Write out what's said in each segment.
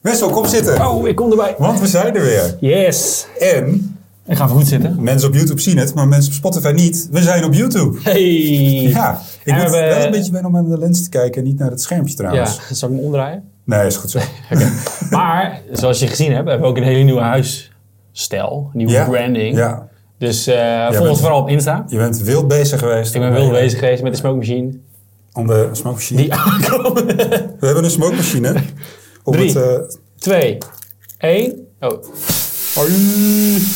Wessel, kom zitten. Oh, ik kom erbij. Want we zijn er weer. Yes. En Ik ga even goed zitten. mensen op YouTube zien het, maar mensen op Spotify niet. We zijn op YouTube. Hey. Ja, ik En moet we hebben- wel een beetje wennen om aan de lens te kijken en niet naar het schermpje Ja, trouwens. zal ik hem omdraaien? Nee, is goed zo. Maar, zoals je gezien hebt, hebben we ook een hele nieuwe huisstijl. Nieuwe Ja. branding. Ja, Dus eh volg bent- ons vooral op Insta. je bent wild bezig geweest. Ik ben wild bezig geweest met de smoke machine. Om de smoke machine. Die aankomen. We hebben een smoke machine. Om Drie. het, eh, Twee. Eén. Oh. Hoi.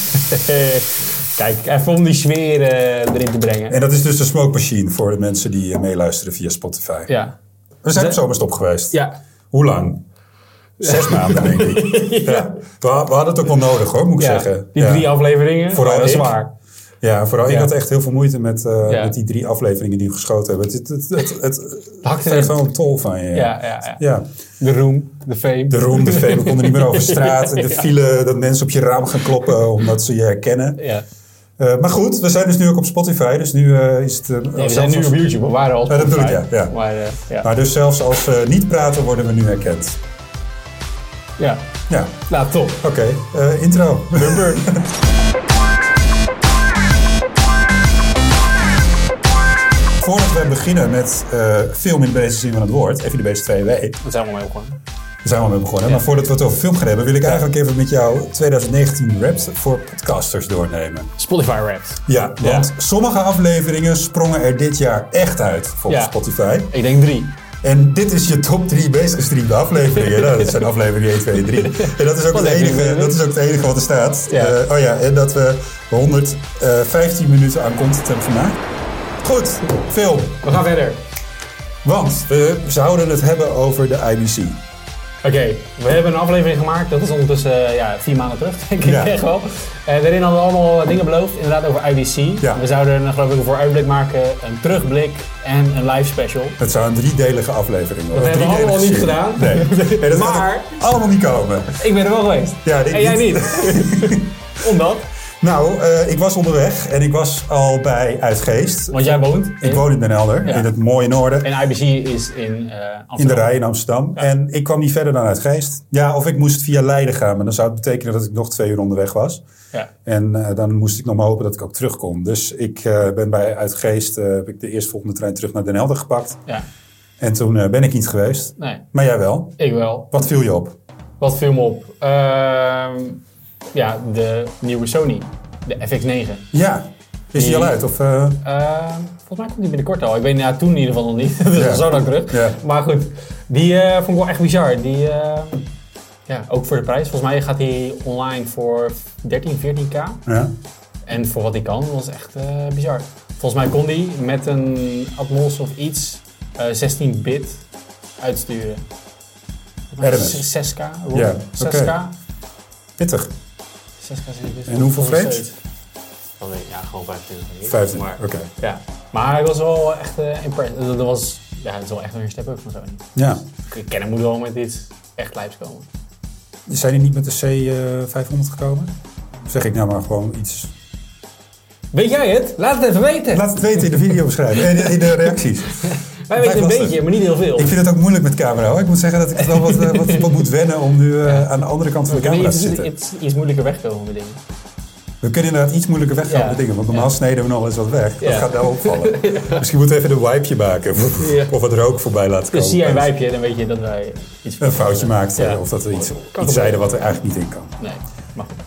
Kijk, even om die sfeer eh, erin te brengen. en dat is dus de smoke machine voor de mensen die eh, meeluisteren via Spotify. Ja. We zijn er zomaar stop geweest. Ja. Hoe lang? Zes maanden, denk ik. Ja. We, we hadden het ook wel nodig, hoor, moet ik ja. zeggen. Die Ja. drie afleveringen. Oh, Vooral waren ik. zwaar. Ja, vooral ik Ja. had echt heel veel moeite met, eh, Ja. met die drie afleveringen die we geschoten hebben. Het, het, het, het, het Hakt erin. vergt wel een tol van je. Ja, ja, ja. Ja. De room, de fame. De roem, de fame, we konden niet meer over straat. En de file, dat mensen op je raam gaan kloppen omdat ze je herkennen. Ja. Eh, maar goed, we zijn dus nu ook op Spotify. Dus nu eh, is het... eh, Nee, we zijn zelfs nu als- op YouTube, we waren al op Ja, dat bedoel ik, Spotify. ja, ja. Maar, eh, ja. Maar dus zelfs als we niet praten, worden we nu herkend. ja. Ja, Nou, top. oké. Eh, intro. Nummer. Voordat we beginnen met eh, film in de breedste zin van het woord, even de beste 2W, Dat zijn we mee begonnen. Daar zijn we mee begonnen. Maar voordat we het over film gaan hebben, wil ik eigenlijk even met jou 2019 Raps voor podcasters doornemen. Spotify Wrapped. Ja, want sommige afleveringen sprongen er dit jaar echt uit volgens Ja. Spotify. Ik denk drie. En dit is je top 3 meest gestreamde afleveringen. nou, dat zijn afleveringen 1, 2 en 3. En dat is ook, Wat het heb je enige, gedaan? dat is ook het enige wat er staat. Ja. Eh, oh ja, en dat we 115 minuten aan content hebben gemaakt. Goed, film. We gaan verder. Want we zouden het hebben over de IBC. Oké, we hebben een aflevering gemaakt. Dat is ondertussen eh, ja, vier maanden terug, denk ik Ja. echt wel. En daarin hadden we allemaal dingen beloofd, inderdaad over IBC. Ja. We zouden een, geloof ik een vooruitblik maken, een terugblik en een live special. Het zou een driedelige aflevering worden. Dat Een hebben we allemaal driedelige niet serie. Nee. En dat gaat Maar- ook allemaal niet komen. Ik ben er wel geweest. Ja, dit en jij niet. niet. Omdat, Nou, eh, ik was onderweg en ik was al bij Uitgeest. want jij woont in, Ik woon in Den Helder, Ja. in het mooie noorden. en IBC is in eh, Amsterdam. In de rij in Amsterdam. En ik kwam niet verder dan uit Geest. Ja, of ik moest via Leiden gaan. Maar dan zou het betekenen dat ik nog twee uur onderweg was. Ja. En eh, dan moest ik nog maar hopen dat ik ook terug kon. Dus ik eh, ben bij uit Geest, eh, heb ik de eerstvolgende trein terug naar Den Helder gepakt. Ja, En toen eh, ben ik niet geweest. nee, Maar jij wel. ik wel. Wat viel je op? Wat viel me op? Ehm, ja, de nieuwe Sony. De FX9. Ja. Is die Nee. al uit? Of, eh, Ehm, volgens mij komt die binnenkort al. Ik weet ja, toen in ieder geval nog niet. dus Ja. al zo lang terug. Ja. Maar goed, die eh, vond ik wel echt bizar. Die, eh, ja, ook voor de prijs. Volgens mij gaat die online voor 13, 14k. ja. En voor wat die kan, was echt eh, bizar. Volgens mij kon die met een Atmos of iets eh, 16-bit uitsturen. Ergens. 6k, rond Ja, 6k. oké. Pittig. 6 En hoeveel frames? Dan weet ik, ja, gewoon 25. denk ik. 15. Maar, Oké. ja. maar het was wel echt eh impressive. Dat, dat was, ja, het is wel echt weer een step-up van Sony. Ja. Ik ken hem moet wel met iets echt lijps komen. Zijn die niet met de C500 gekomen? Of zeg ik nou maar gewoon iets. Weet jij het? Laat het even weten. Laat het weten in de video beschrijven. En in de reacties. Wij weten een lastig. beetje, maar niet heel veel. Ik vind het ook moeilijk met camera. hoor. Ik moet zeggen dat ik het wel wat, eh, wat, wat moet wennen om nu eh, aan de andere kant van de We kunnen camera te iets, zitten. iets, iets moeilijker wegkomen met dingen. We kunnen inderdaad iets moeilijker weggaan Ja. met dingen. Want normaal sneden we nog eens wat weg. Dat Ja. gaat wel opvallen. Misschien moeten we even een wipeje maken. Of wat rook voorbij laten komen. Dus zie jij een wijpje, dan weet je dat wij iets Een foutje maakt. eh, Ja. Of dat we iets, iets gebeuren. zeiden wat er eigenlijk niet in kan. Nee, maar goed.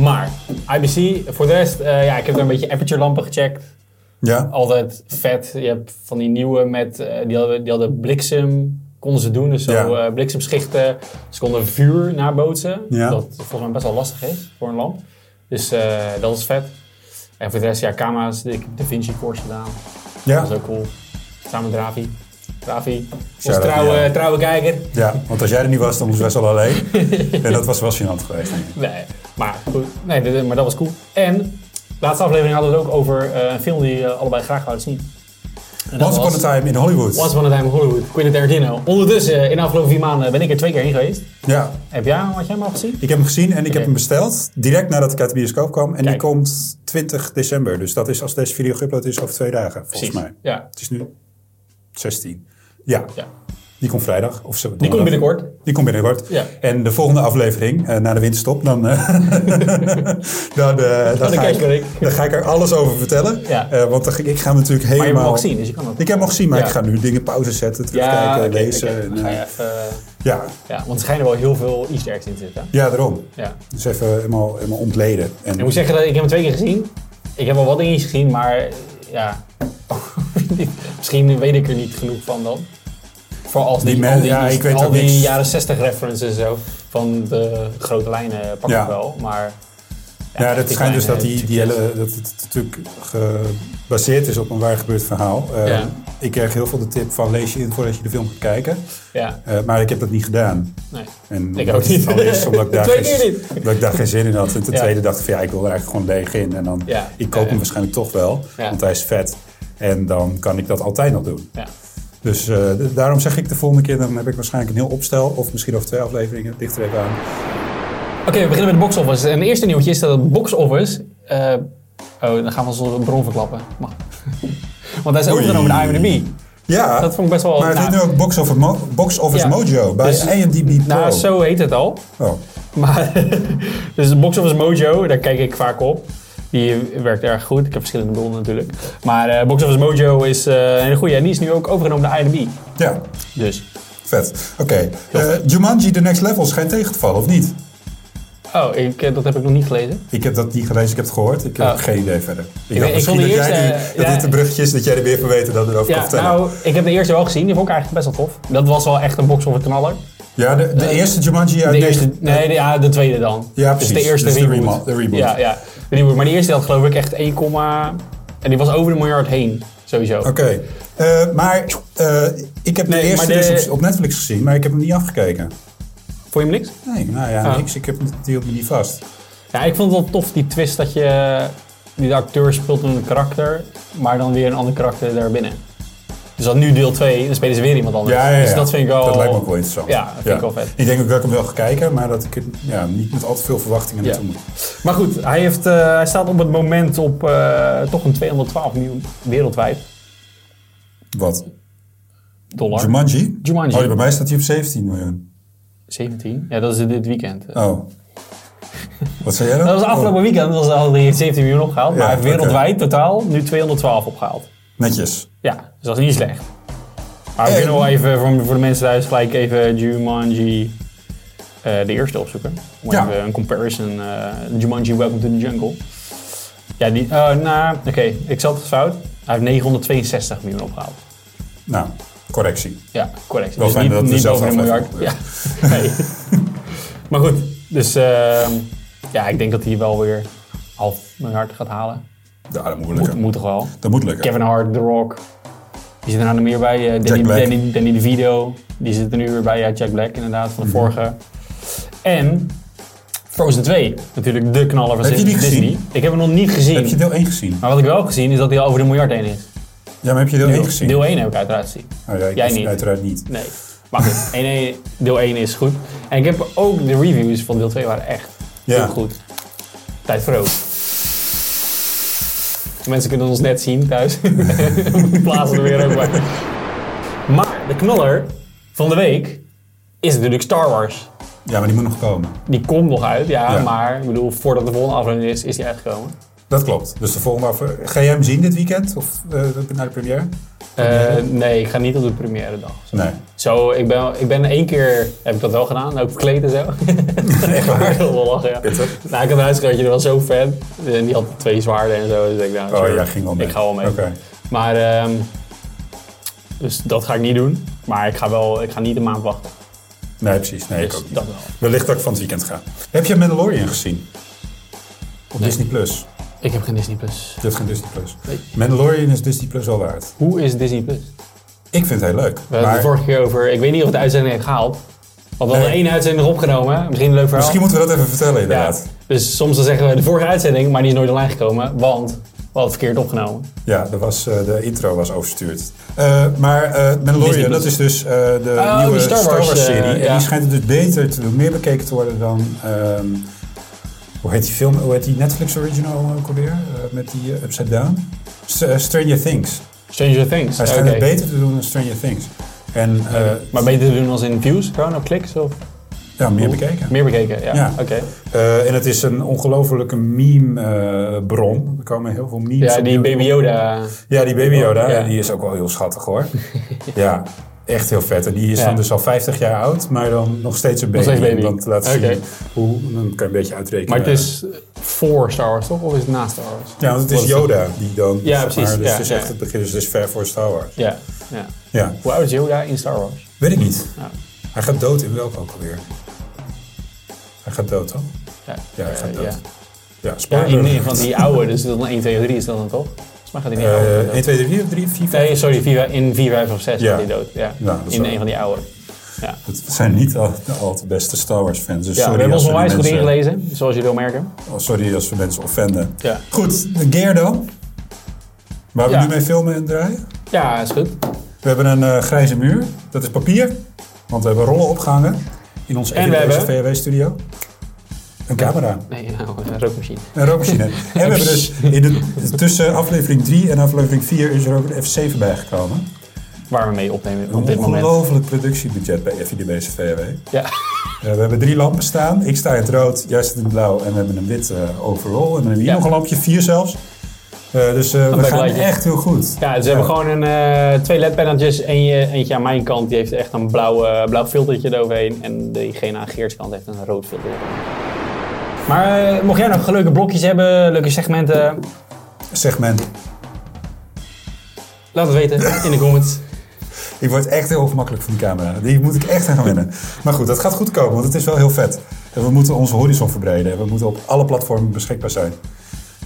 Maar, IBC, voor de rest, eh, ja, ik heb er een beetje aperture lampen gecheckt. Oh, Ja? altijd vet. Je hebt van die nieuwe met, eh, die, hadden, die hadden bliksem, konden ze doen. Dus zo Ja. eh, bliksemschichten. Ze konden vuur nabootsen. Ja. Dat volgens mij best wel lastig is voor een lamp. Dus eh, dat is vet. En voor de rest, ja, camera's. Ik heb Da Vinci Course gedaan. Ja? Dat is ook cool. Samen met Ravi. Ravi, onze Shout-out, trouwe, ja. trouwe kijker. Ja, want als jij er niet was, dan moest Wessel alleen. En dat was wel gênant geweest. Nee, maar goed. Nee, dit- maar dat was cool. En, laatste aflevering hadden we het ook over eh, een film die eh, allebei graag wouden zien. En dat Once upon was- a time in Hollywood. Once Upon a Time in Hollywood, Quentin Tarantino. Ondertussen, in de afgelopen vier maanden ben ik er twee keer heen geweest. Ja, Heb jij, had jij hem al gezien? ik heb hem gezien en ik heb Oké. hem besteld. Direct nadat ik uit de bioscoop kwam. En die Kijk. komt 20 december. Dus dat is als deze video geüpload is over twee dagen, volgens mij. Ja. Het is nu 16. Ja, ja. ja. Die komt vrijdag. Of zo, Die komt donderdag. binnenkort. Die komt binnenkort. Ja. En de volgende aflevering, eh, na de winterstop, dan, eh, dan, eh, dan, ga kijk ik. ik, dan ga ik er alles over vertellen. Ja. Eh, want dan, ga ik- ik ga hem natuurlijk helemaal... Maar je mag ook zien, dus je kan het. Ik heb hem al gezien, maar Ja. ik ga nu dingen pauze zetten, terugkijken, ja, oké, lezen. oké. Dan en, ga eh, je even, eh, ja. ja, want er schijnen wel heel veel easter eggs in te zitten. ja, daarom. Ja. Dus even helemaal, helemaal ontleden. En, Ik moet zeggen dat ik heb hem twee keer gezien. Ik heb wel wat dingetjes gezien, maar ja. Misschien weet ik er niet genoeg van dan. Vooral als die, Die men- al die, ja, ik weet al ook die niks. jaren 60 references en zo van de grote lijnen eh, pak ik Ja. wel. Maar Ja, dat die schijnt dus dat kleine die, die hele, dat het natuurlijk gebaseerd is op een waar gebeurd verhaal. Eh, Ja. Ik krijg heel veel de tip van lees je in voordat je de film gaat kijken. ja, Eh, maar ik heb dat niet gedaan. nee. En Ik omdat ook het niet. al is, omdat ik daar, Twee keer geen, niet. omdat ik daar geen zin in had. En ten Ja. tweede dacht ik van ja, ik wil er eigenlijk gewoon leeg in. En dan, Ja. ik koop Ja, ja. hem waarschijnlijk toch wel, Ja. want hij is vet. En dan kan ik dat altijd nog doen. Ja. Dus eh, d- daarom zeg ik de volgende keer, dan heb ik waarschijnlijk een heel opstel. Of misschien over twee afleveringen, het ligt er even aan. Oké, we beginnen met de box office. En het eerste nieuwtje is dat het box office. eh, oh, dan gaan we onze bron verklappen. Mag. Want hij is Oei. overgenomen door IMDb. Ja, Dat vond ik best wel. maar het nou, is nu ook Box Office, Mo- Box Office Ja. Mojo bij Dus- IMDb Pro. nou, zo heet het al. Oh. Maar, dus de Box Office Mojo, daar kijk ik vaak op. Die werkt erg goed. Ik heb verschillende bronnen natuurlijk. Maar eh Box Office Mojo is eh, een hele goede. En die is nu ook overgenomen door IMDb. Ja, Dus. vet. Oké. Eh, Jumanji The Next Level schijnt tegen te vallen, of niet? Oh, ik, eh, dat heb ik nog niet gelezen. Ik heb dat niet gelezen, ik heb het gehoord. Ik heb Oh. geen idee verder. Ik, weet- dacht ik misschien vond dat, die jij eerste, die, dat eh, dit ja. de brugje is, dat jij er weer van weet en dat erover kan Ja, vertellen. nou, ik heb de eerste wel gezien. Die vond ik eigenlijk best wel tof. Dat was wel echt een Box Office knaller. ja, de, de eerste Jumanji uit eh, deze- De eerste, nee, de, ja, de tweede dan. dus Ja, precies. Dus de eerste Dus de reboot. remo- de reboot. Ja, ja, de reboot. Maar die eerste had geloof ik echt 1, en die was over de miljard heen, sowieso. Oké. Eh, maar eh, ik heb Nee, de eerste maar de- dus op, op Netflix gezien, maar ik heb hem niet afgekeken. Vond je hem niks? Nee, nou ja, Ah. niks. Ik heb, die hield me niet vast. Ja, ik vond het wel tof, die twist dat je... Die de acteur speelt een karakter, maar dan weer een ander karakter daarbinnen. Dus dan nu deel 2, dan spelen ze weer iemand anders. Ja, ja, ja. Dus dat vind ik wel... Dat lijkt me ook wel interessant. Ja, dat vind ik wel vet. Ik denk ook dat ik hem wel ga kijken, maar dat ik er, ja, niet met al te veel verwachtingen Ja. naartoe moet. Maar goed, hij, heeft, eh, hij staat op het moment op eh, toch een 212 miljoen wereldwijd Wat? dollar. Jumanji? Jumanji. Oh, bij mij staat hij op 17 miljoen. 17? Ja, dat is dit weekend. Oh. Wat zei jij dan? Dat was afgelopen weekend, dat was al die 17 miljoen opgehaald. maar Ja, hij heeft oké. wereldwijd totaal nu 212 opgehaald. Oh, netjes. Ja, dus dat is niet slecht. Maar we En- kunnen wel even voor, voor de mensen thuis gelijk even Jumanji eh, de eerste opzoeken. Om Ja. even een comparison. eh, Jumanji Welcome to the Jungle. Ja, die. eh nou, oké, ik zat het fout. Hij heeft 962 miljoen opgehaald. Nou, correctie. Ja, correct. Wel dus fijn niet, dat we niet zelf over een miljard. aflevering Ja. Nee. maar goed, dus ehm, ja, ik denk dat hij wel weer half miljard gaat halen. Ja, dat moet Moet, lukken. moet toch wel. Dat moet lukken. Kevin Hart, The Rock. Die zitten er nou meer bij. eh, Danny, Black. Danny, Danny DeVito. Die zit er nu weer bij. Ja, Jack Black inderdaad, van de Mhm. vorige. En Frozen 2. Natuurlijk de knaller van Heb je die Disney. gezien? Ik heb hem nog niet Heb je gezien. deel 1 gezien? Maar wat ik wel heb gezien is dat hij al over de miljard heen is. Ja, maar heb je deel 1 gezien? Deel 1 heb ik uiteraard gezien. Oh, ja, ik Jij dus niet. Uiteraard niet. Nee. Maar goed, 1, 1, deel 1 is goed. En ik heb ook de reviews van deel 2 waren echt Ja. heel goed. Tijd voor ook. Mensen kunnen ons net zien thuis. We plaatsen er weer ook bij. Maar de knaller van de week is natuurlijk Star Wars. Ja, maar die moet nog komen. Die komt nog uit, ja, Ja. maar ik bedoel, voordat de volgende aflevering is, is die uitgekomen. Dat klopt. Dus de volgende af... Ga jij hem zien dit weekend? Of eh, naar de première? Eh, nee, ik ga niet op de première dag. Zo, Nee. Zo, ik, ben, ik ben één keer, heb ik dat wel gedaan, ook verkleed en zo. Echt Maar dat wel lachen, ja. Nou, ik had een huisgenootje, die was zo fan. En die had twee zwaarden en zo. Dus ik dacht, Oh sure, ja, ging wel mee. Ik ga wel mee. Oké. Maar, ehm, dus dat ga ik niet doen. Maar ik ga wel, ik ga niet een maand wachten. Nee, precies. Nee, ik Dus ook niet. dat wel. Wellicht dat ik van het weekend ga. Heb je Mandalorian gezien? Op Nee. Disney Plus. Ik heb geen Disney Plus. Je hebt geen Disney Plus. Nee. Mandalorian is Disney Plus al waard. Hoe is Disney Plus? Ik vind het heel leuk. We hebben het de vorige keer over, ik weet niet of de uitzending heeft gehaald. Want we hadden Nee. één uitzending opgenomen. Misschien een leuk verhaal. Misschien moeten we dat even vertellen, ja. inderdaad. Dus soms dan zeggen we de vorige uitzending, maar die is nooit online gekomen. Want we hadden het verkeerd opgenomen. Ja, dat was, eh, de intro was overstuurd. Eh, maar eh Disney Mandalorian, Plus. dat is dus eh, de Oh, nieuwe die Star Star Wars, Wars, eh, serie. en ja. die schijnt dus beter te doen, meer bekeken te worden dan... ehm, hoe heet die film? Hoe heet die Netflix original ook alweer? Eh, met die eh, Upside Down? S- eh, Stranger Things. Stranger Things. Hij Oké. schijnt het beter te doen dan Stranger Things. En eh, Maar beter te doen als in views, gewoon op kliks of ja, meer bekeken. meer bekeken? Ja, Ja. oké. Eh, en het is een ongelofelijke meme-bron. er komen heel veel memes Ja, op die YouTube. Baby Yoda. Oh, Ja, die Baby Yoda, Ja. die is ook wel heel schattig hoor. ja, echt heel vet. En die is Ja. dan dus al 50 jaar oud, maar dan nog steeds een baby. steeds baby. Want laat zien Oké. hoe, dan kan je een beetje uitrekenen. Maar het is voor Star Wars toch? Of is het na Star Wars? Ja, want het is Yoda die dan... Ja, zeg precies. Maar, dus Ja, het is ja. echt het begin, dus het is ver voor Star Wars. Ja. ja. Ja, Hoe oud is Yoda in Star Wars? weet ik niet. Ja. Hij gaat dood in welke ook alweer? Hij gaat dood dan? Ja, Ja, hij Eh, gaat ja. dood. Ja, Ja, spoiler. in ieder geval die oude, dus dan 1, 2, 3 is dat dan toch? Volgens mij gaat hij niet Eh, oude. 1, 2, 3 of 3, 4, 5? Nee, sorry, vier- in 4, 5 of 6 Ja. gaat hij dood. Ja. Ja, dat is in wel- een van die oude. Ja. Het zijn niet al, al de beste Star Wars fans. Dus Ja, we sorry hebben als ons onwijs we goed mensen- ingelezen, zoals je wil merken. Oh, sorry als we mensen offenden. Ja. Goed, de gear dan. Waar we Ja. nu mee filmen en draaien. Ja, is goed. We hebben een eh, grijze muur. Dat is papier. Want we hebben rollen opgehangen. In ons En we eigen hebben- VW-studio. Een camera. Nee, nou, een rookmachine. Een rookmachine. en we hebben dus in de, tussen aflevering 3 en aflevering 4 is er ook een F7 bijgekomen. Waar we mee opnemen op Een dit moment. ongelooflijk productiebudget bij FIDB's VW. Ja. Eh, we hebben drie lampen staan. Ik sta in het rood, jij staat in het blauw en we hebben een wit eh, overall. En dan hebben we hier Ja. nog een lampje, vier zelfs. Eh, dus eh, we gaan backlightje. echt heel goed. Ja, dus we hebben gewoon een, eh, twee ledpennetjes. Eentje, eentje aan mijn kant, die heeft echt een blauw, eh, blauw filtertje eroverheen. En diegene aan Geert's kant heeft een rood filter. Maar eh, mocht jij nog leuke blokjes hebben, leuke segmenten, Segment. laat het weten in de comments. Ik word echt heel ongemakkelijk van die camera. Die moet ik echt aan gaan wennen. Maar goed, dat gaat goed komen, want het is wel heel vet. En we moeten onze horizon verbreden. En we moeten op alle platformen beschikbaar zijn.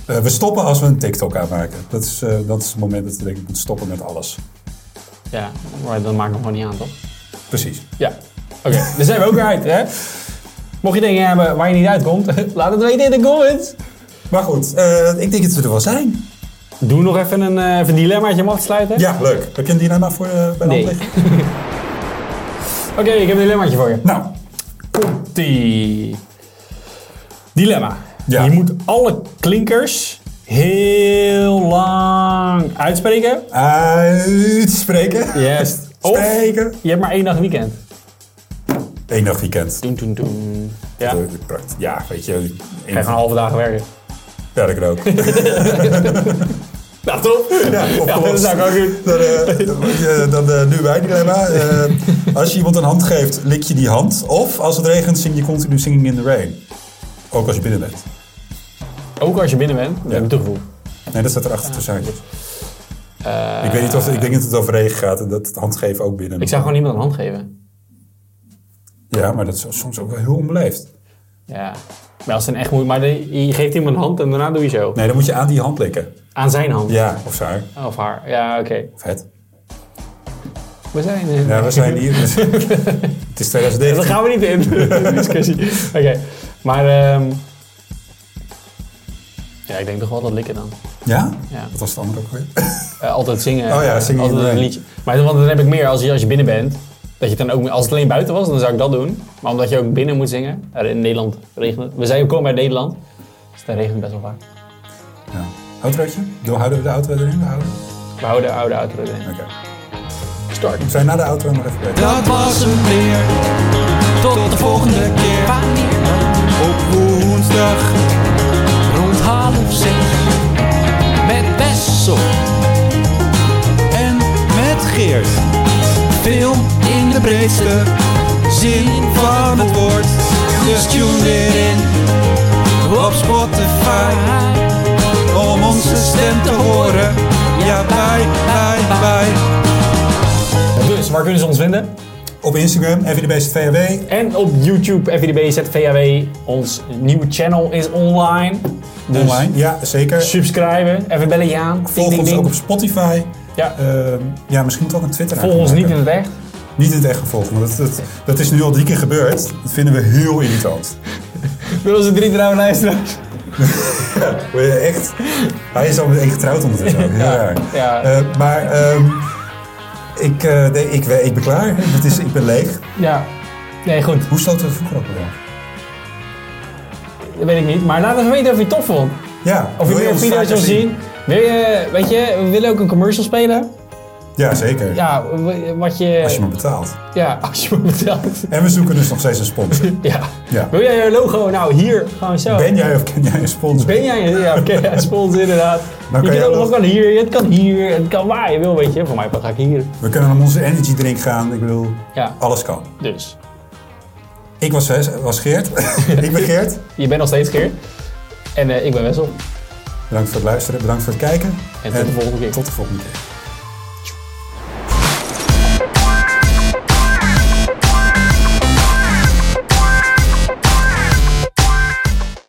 Eh, we stoppen als we een TikTok aanmaken. Dat is, eh, dat is het moment dat we denk ik moeten stoppen met alles. Ja, maar dat maakt nog gewoon niet aan, toch? Precies. Ja. Oké, dus daar zijn we ook weer uit, hè? Mocht je dingen hebben waar je niet uitkomt, laat het weten in de comments. Maar goed, eh, ik denk dat we er wel zijn. Doe nog even een, eh even een dilemmaatje om af te sluiten. Ja, leuk. Heb je een dilemma voor eh, bij de hand Nee. liggen? Oké, ik heb een dilemmaatje voor je. Nou, Komt-ie. Dilemma. Ja. Je moet alle klinkers heel lang uitspreken. Uitspreken. Yes. Of Spreken. je hebt maar één dag weekend. Eén dag weekend. Doen, doen, doen. Ja. Ja, ja weet je. één- Ga je gewoon halve dagen werken. Ja, dat kan ook. Nou, top. Ja, Ja, dat opgelost. zou ik ook doen. Dan, eh, eh, dan eh, nu wij dilemma. Eh, als je iemand een hand geeft, lik je die hand. Of als het regent, zing je continu Singing in the Rain. Ook als je binnen bent. Ook als je binnen bent, dan heb je toegevoegd. Nee, dat staat erachter te zijn. ik weet niet of ik denk dat het over regen gaat en dat het handgeven ook binnen. Eh, Ik zou gewoon niemand een hand geven. Ja, maar dat is soms ook wel heel onbeleefd. Ja. Maar als het een echt moet, maar de- je geeft iemand een hand en daarna doe je zo. Nee, dan moet je aan die hand likken. Aan zijn hand. Ja, of zij. Of haar. Ja, oké. Of het. We zijn. eh, Ja, we zijn hier. dus- het is 2019. Daar Dus gaan we niet in. de discussie. Oké. Maar. ehm, ja, ik denk toch wel dat likken dan. Ja? Ja. Wat was het andere ook weer? Eh, altijd zingen. Oh ja, zingen Altijd een iedereen. liedje. Maar dan- want dan heb ik meer als je, als je binnen bent. Dat je het dan ook, als het alleen buiten was, dan zou ik dat doen. Maar omdat je ook binnen moet zingen. eh, In Nederland regent het. We zijn ook komen uit Nederland. Dus daar regent het best wel vaak. Ja. Outrootje? Doe- Houden we de auto erin? We houden? We houden oude auto erin. Oké. Start. We zijn na de auto nog even bij. Dat was hem weer. Tot de volgende keer. Op woensdag. Rond half zes. Met Bessel. En met Geert. Film in de breedste zin van het woord. Dus tune in. Op Spotify. Om onze stem te horen. Ja, bye, bye, bye. Dus, waar kunnen ze ons vinden? Op Instagram, FVDBCVW. En op YouTube, FIDB, ZVAW. Ons nieuwe channel is online. Dus Online. Ja, zeker. subscriben, even bellen je aan. Ding, Volg ding, ons ding. ook op Spotify. Ja. Ehm, ja, misschien moet dat een Twitter Volg ons niet aanmaken. in het echt. Niet in het echt gevolg, want dat, dat, dat is nu al drie keer gebeurd. Dat vinden we heel irritant. Wil onze drie trouwe luisteraars. Wil je Echt. Hij is al meteen getrouwd ondertussen ook. Heel raar. ja. Eh, maar ehm, ik, eh, nee, ik, ik ben klaar. Het is, ik ben leeg. Ja. Nee, goed. Hoe sloten we vroeger ook weer af? Dat weet ik niet. Maar laat even weten of je het tof vond. Ja, Of je wil meer ons video's vaker wil zien. Wil je, weet je, we willen ook een commercial spelen. Ja, zeker. Ja, w- wat je... Als je me betaalt. Ja, als je me betaalt. En we zoeken dus nog steeds een sponsor. Ja. Ja. Wil jij een logo? Nou, hier. Gewoon zo. Ben jij of ken jij een sponsor? Ben jij een ja, oké, een sponsor inderdaad. kan je jij kan ook nog- nog hier, het kan hier, het kan waar je wil, weet je. Voor mij ga ik hier. We kunnen om onze energy drink gaan. Ik bedoel, Ja. alles kan. Dus, Ik was, eh, was Geert. ik ben Geert. je bent nog steeds Geert. En eh, ik ben Wessel. Bedankt voor het luisteren. Bedankt voor het kijken. En tot de volgende keer. Tot de volgende keer.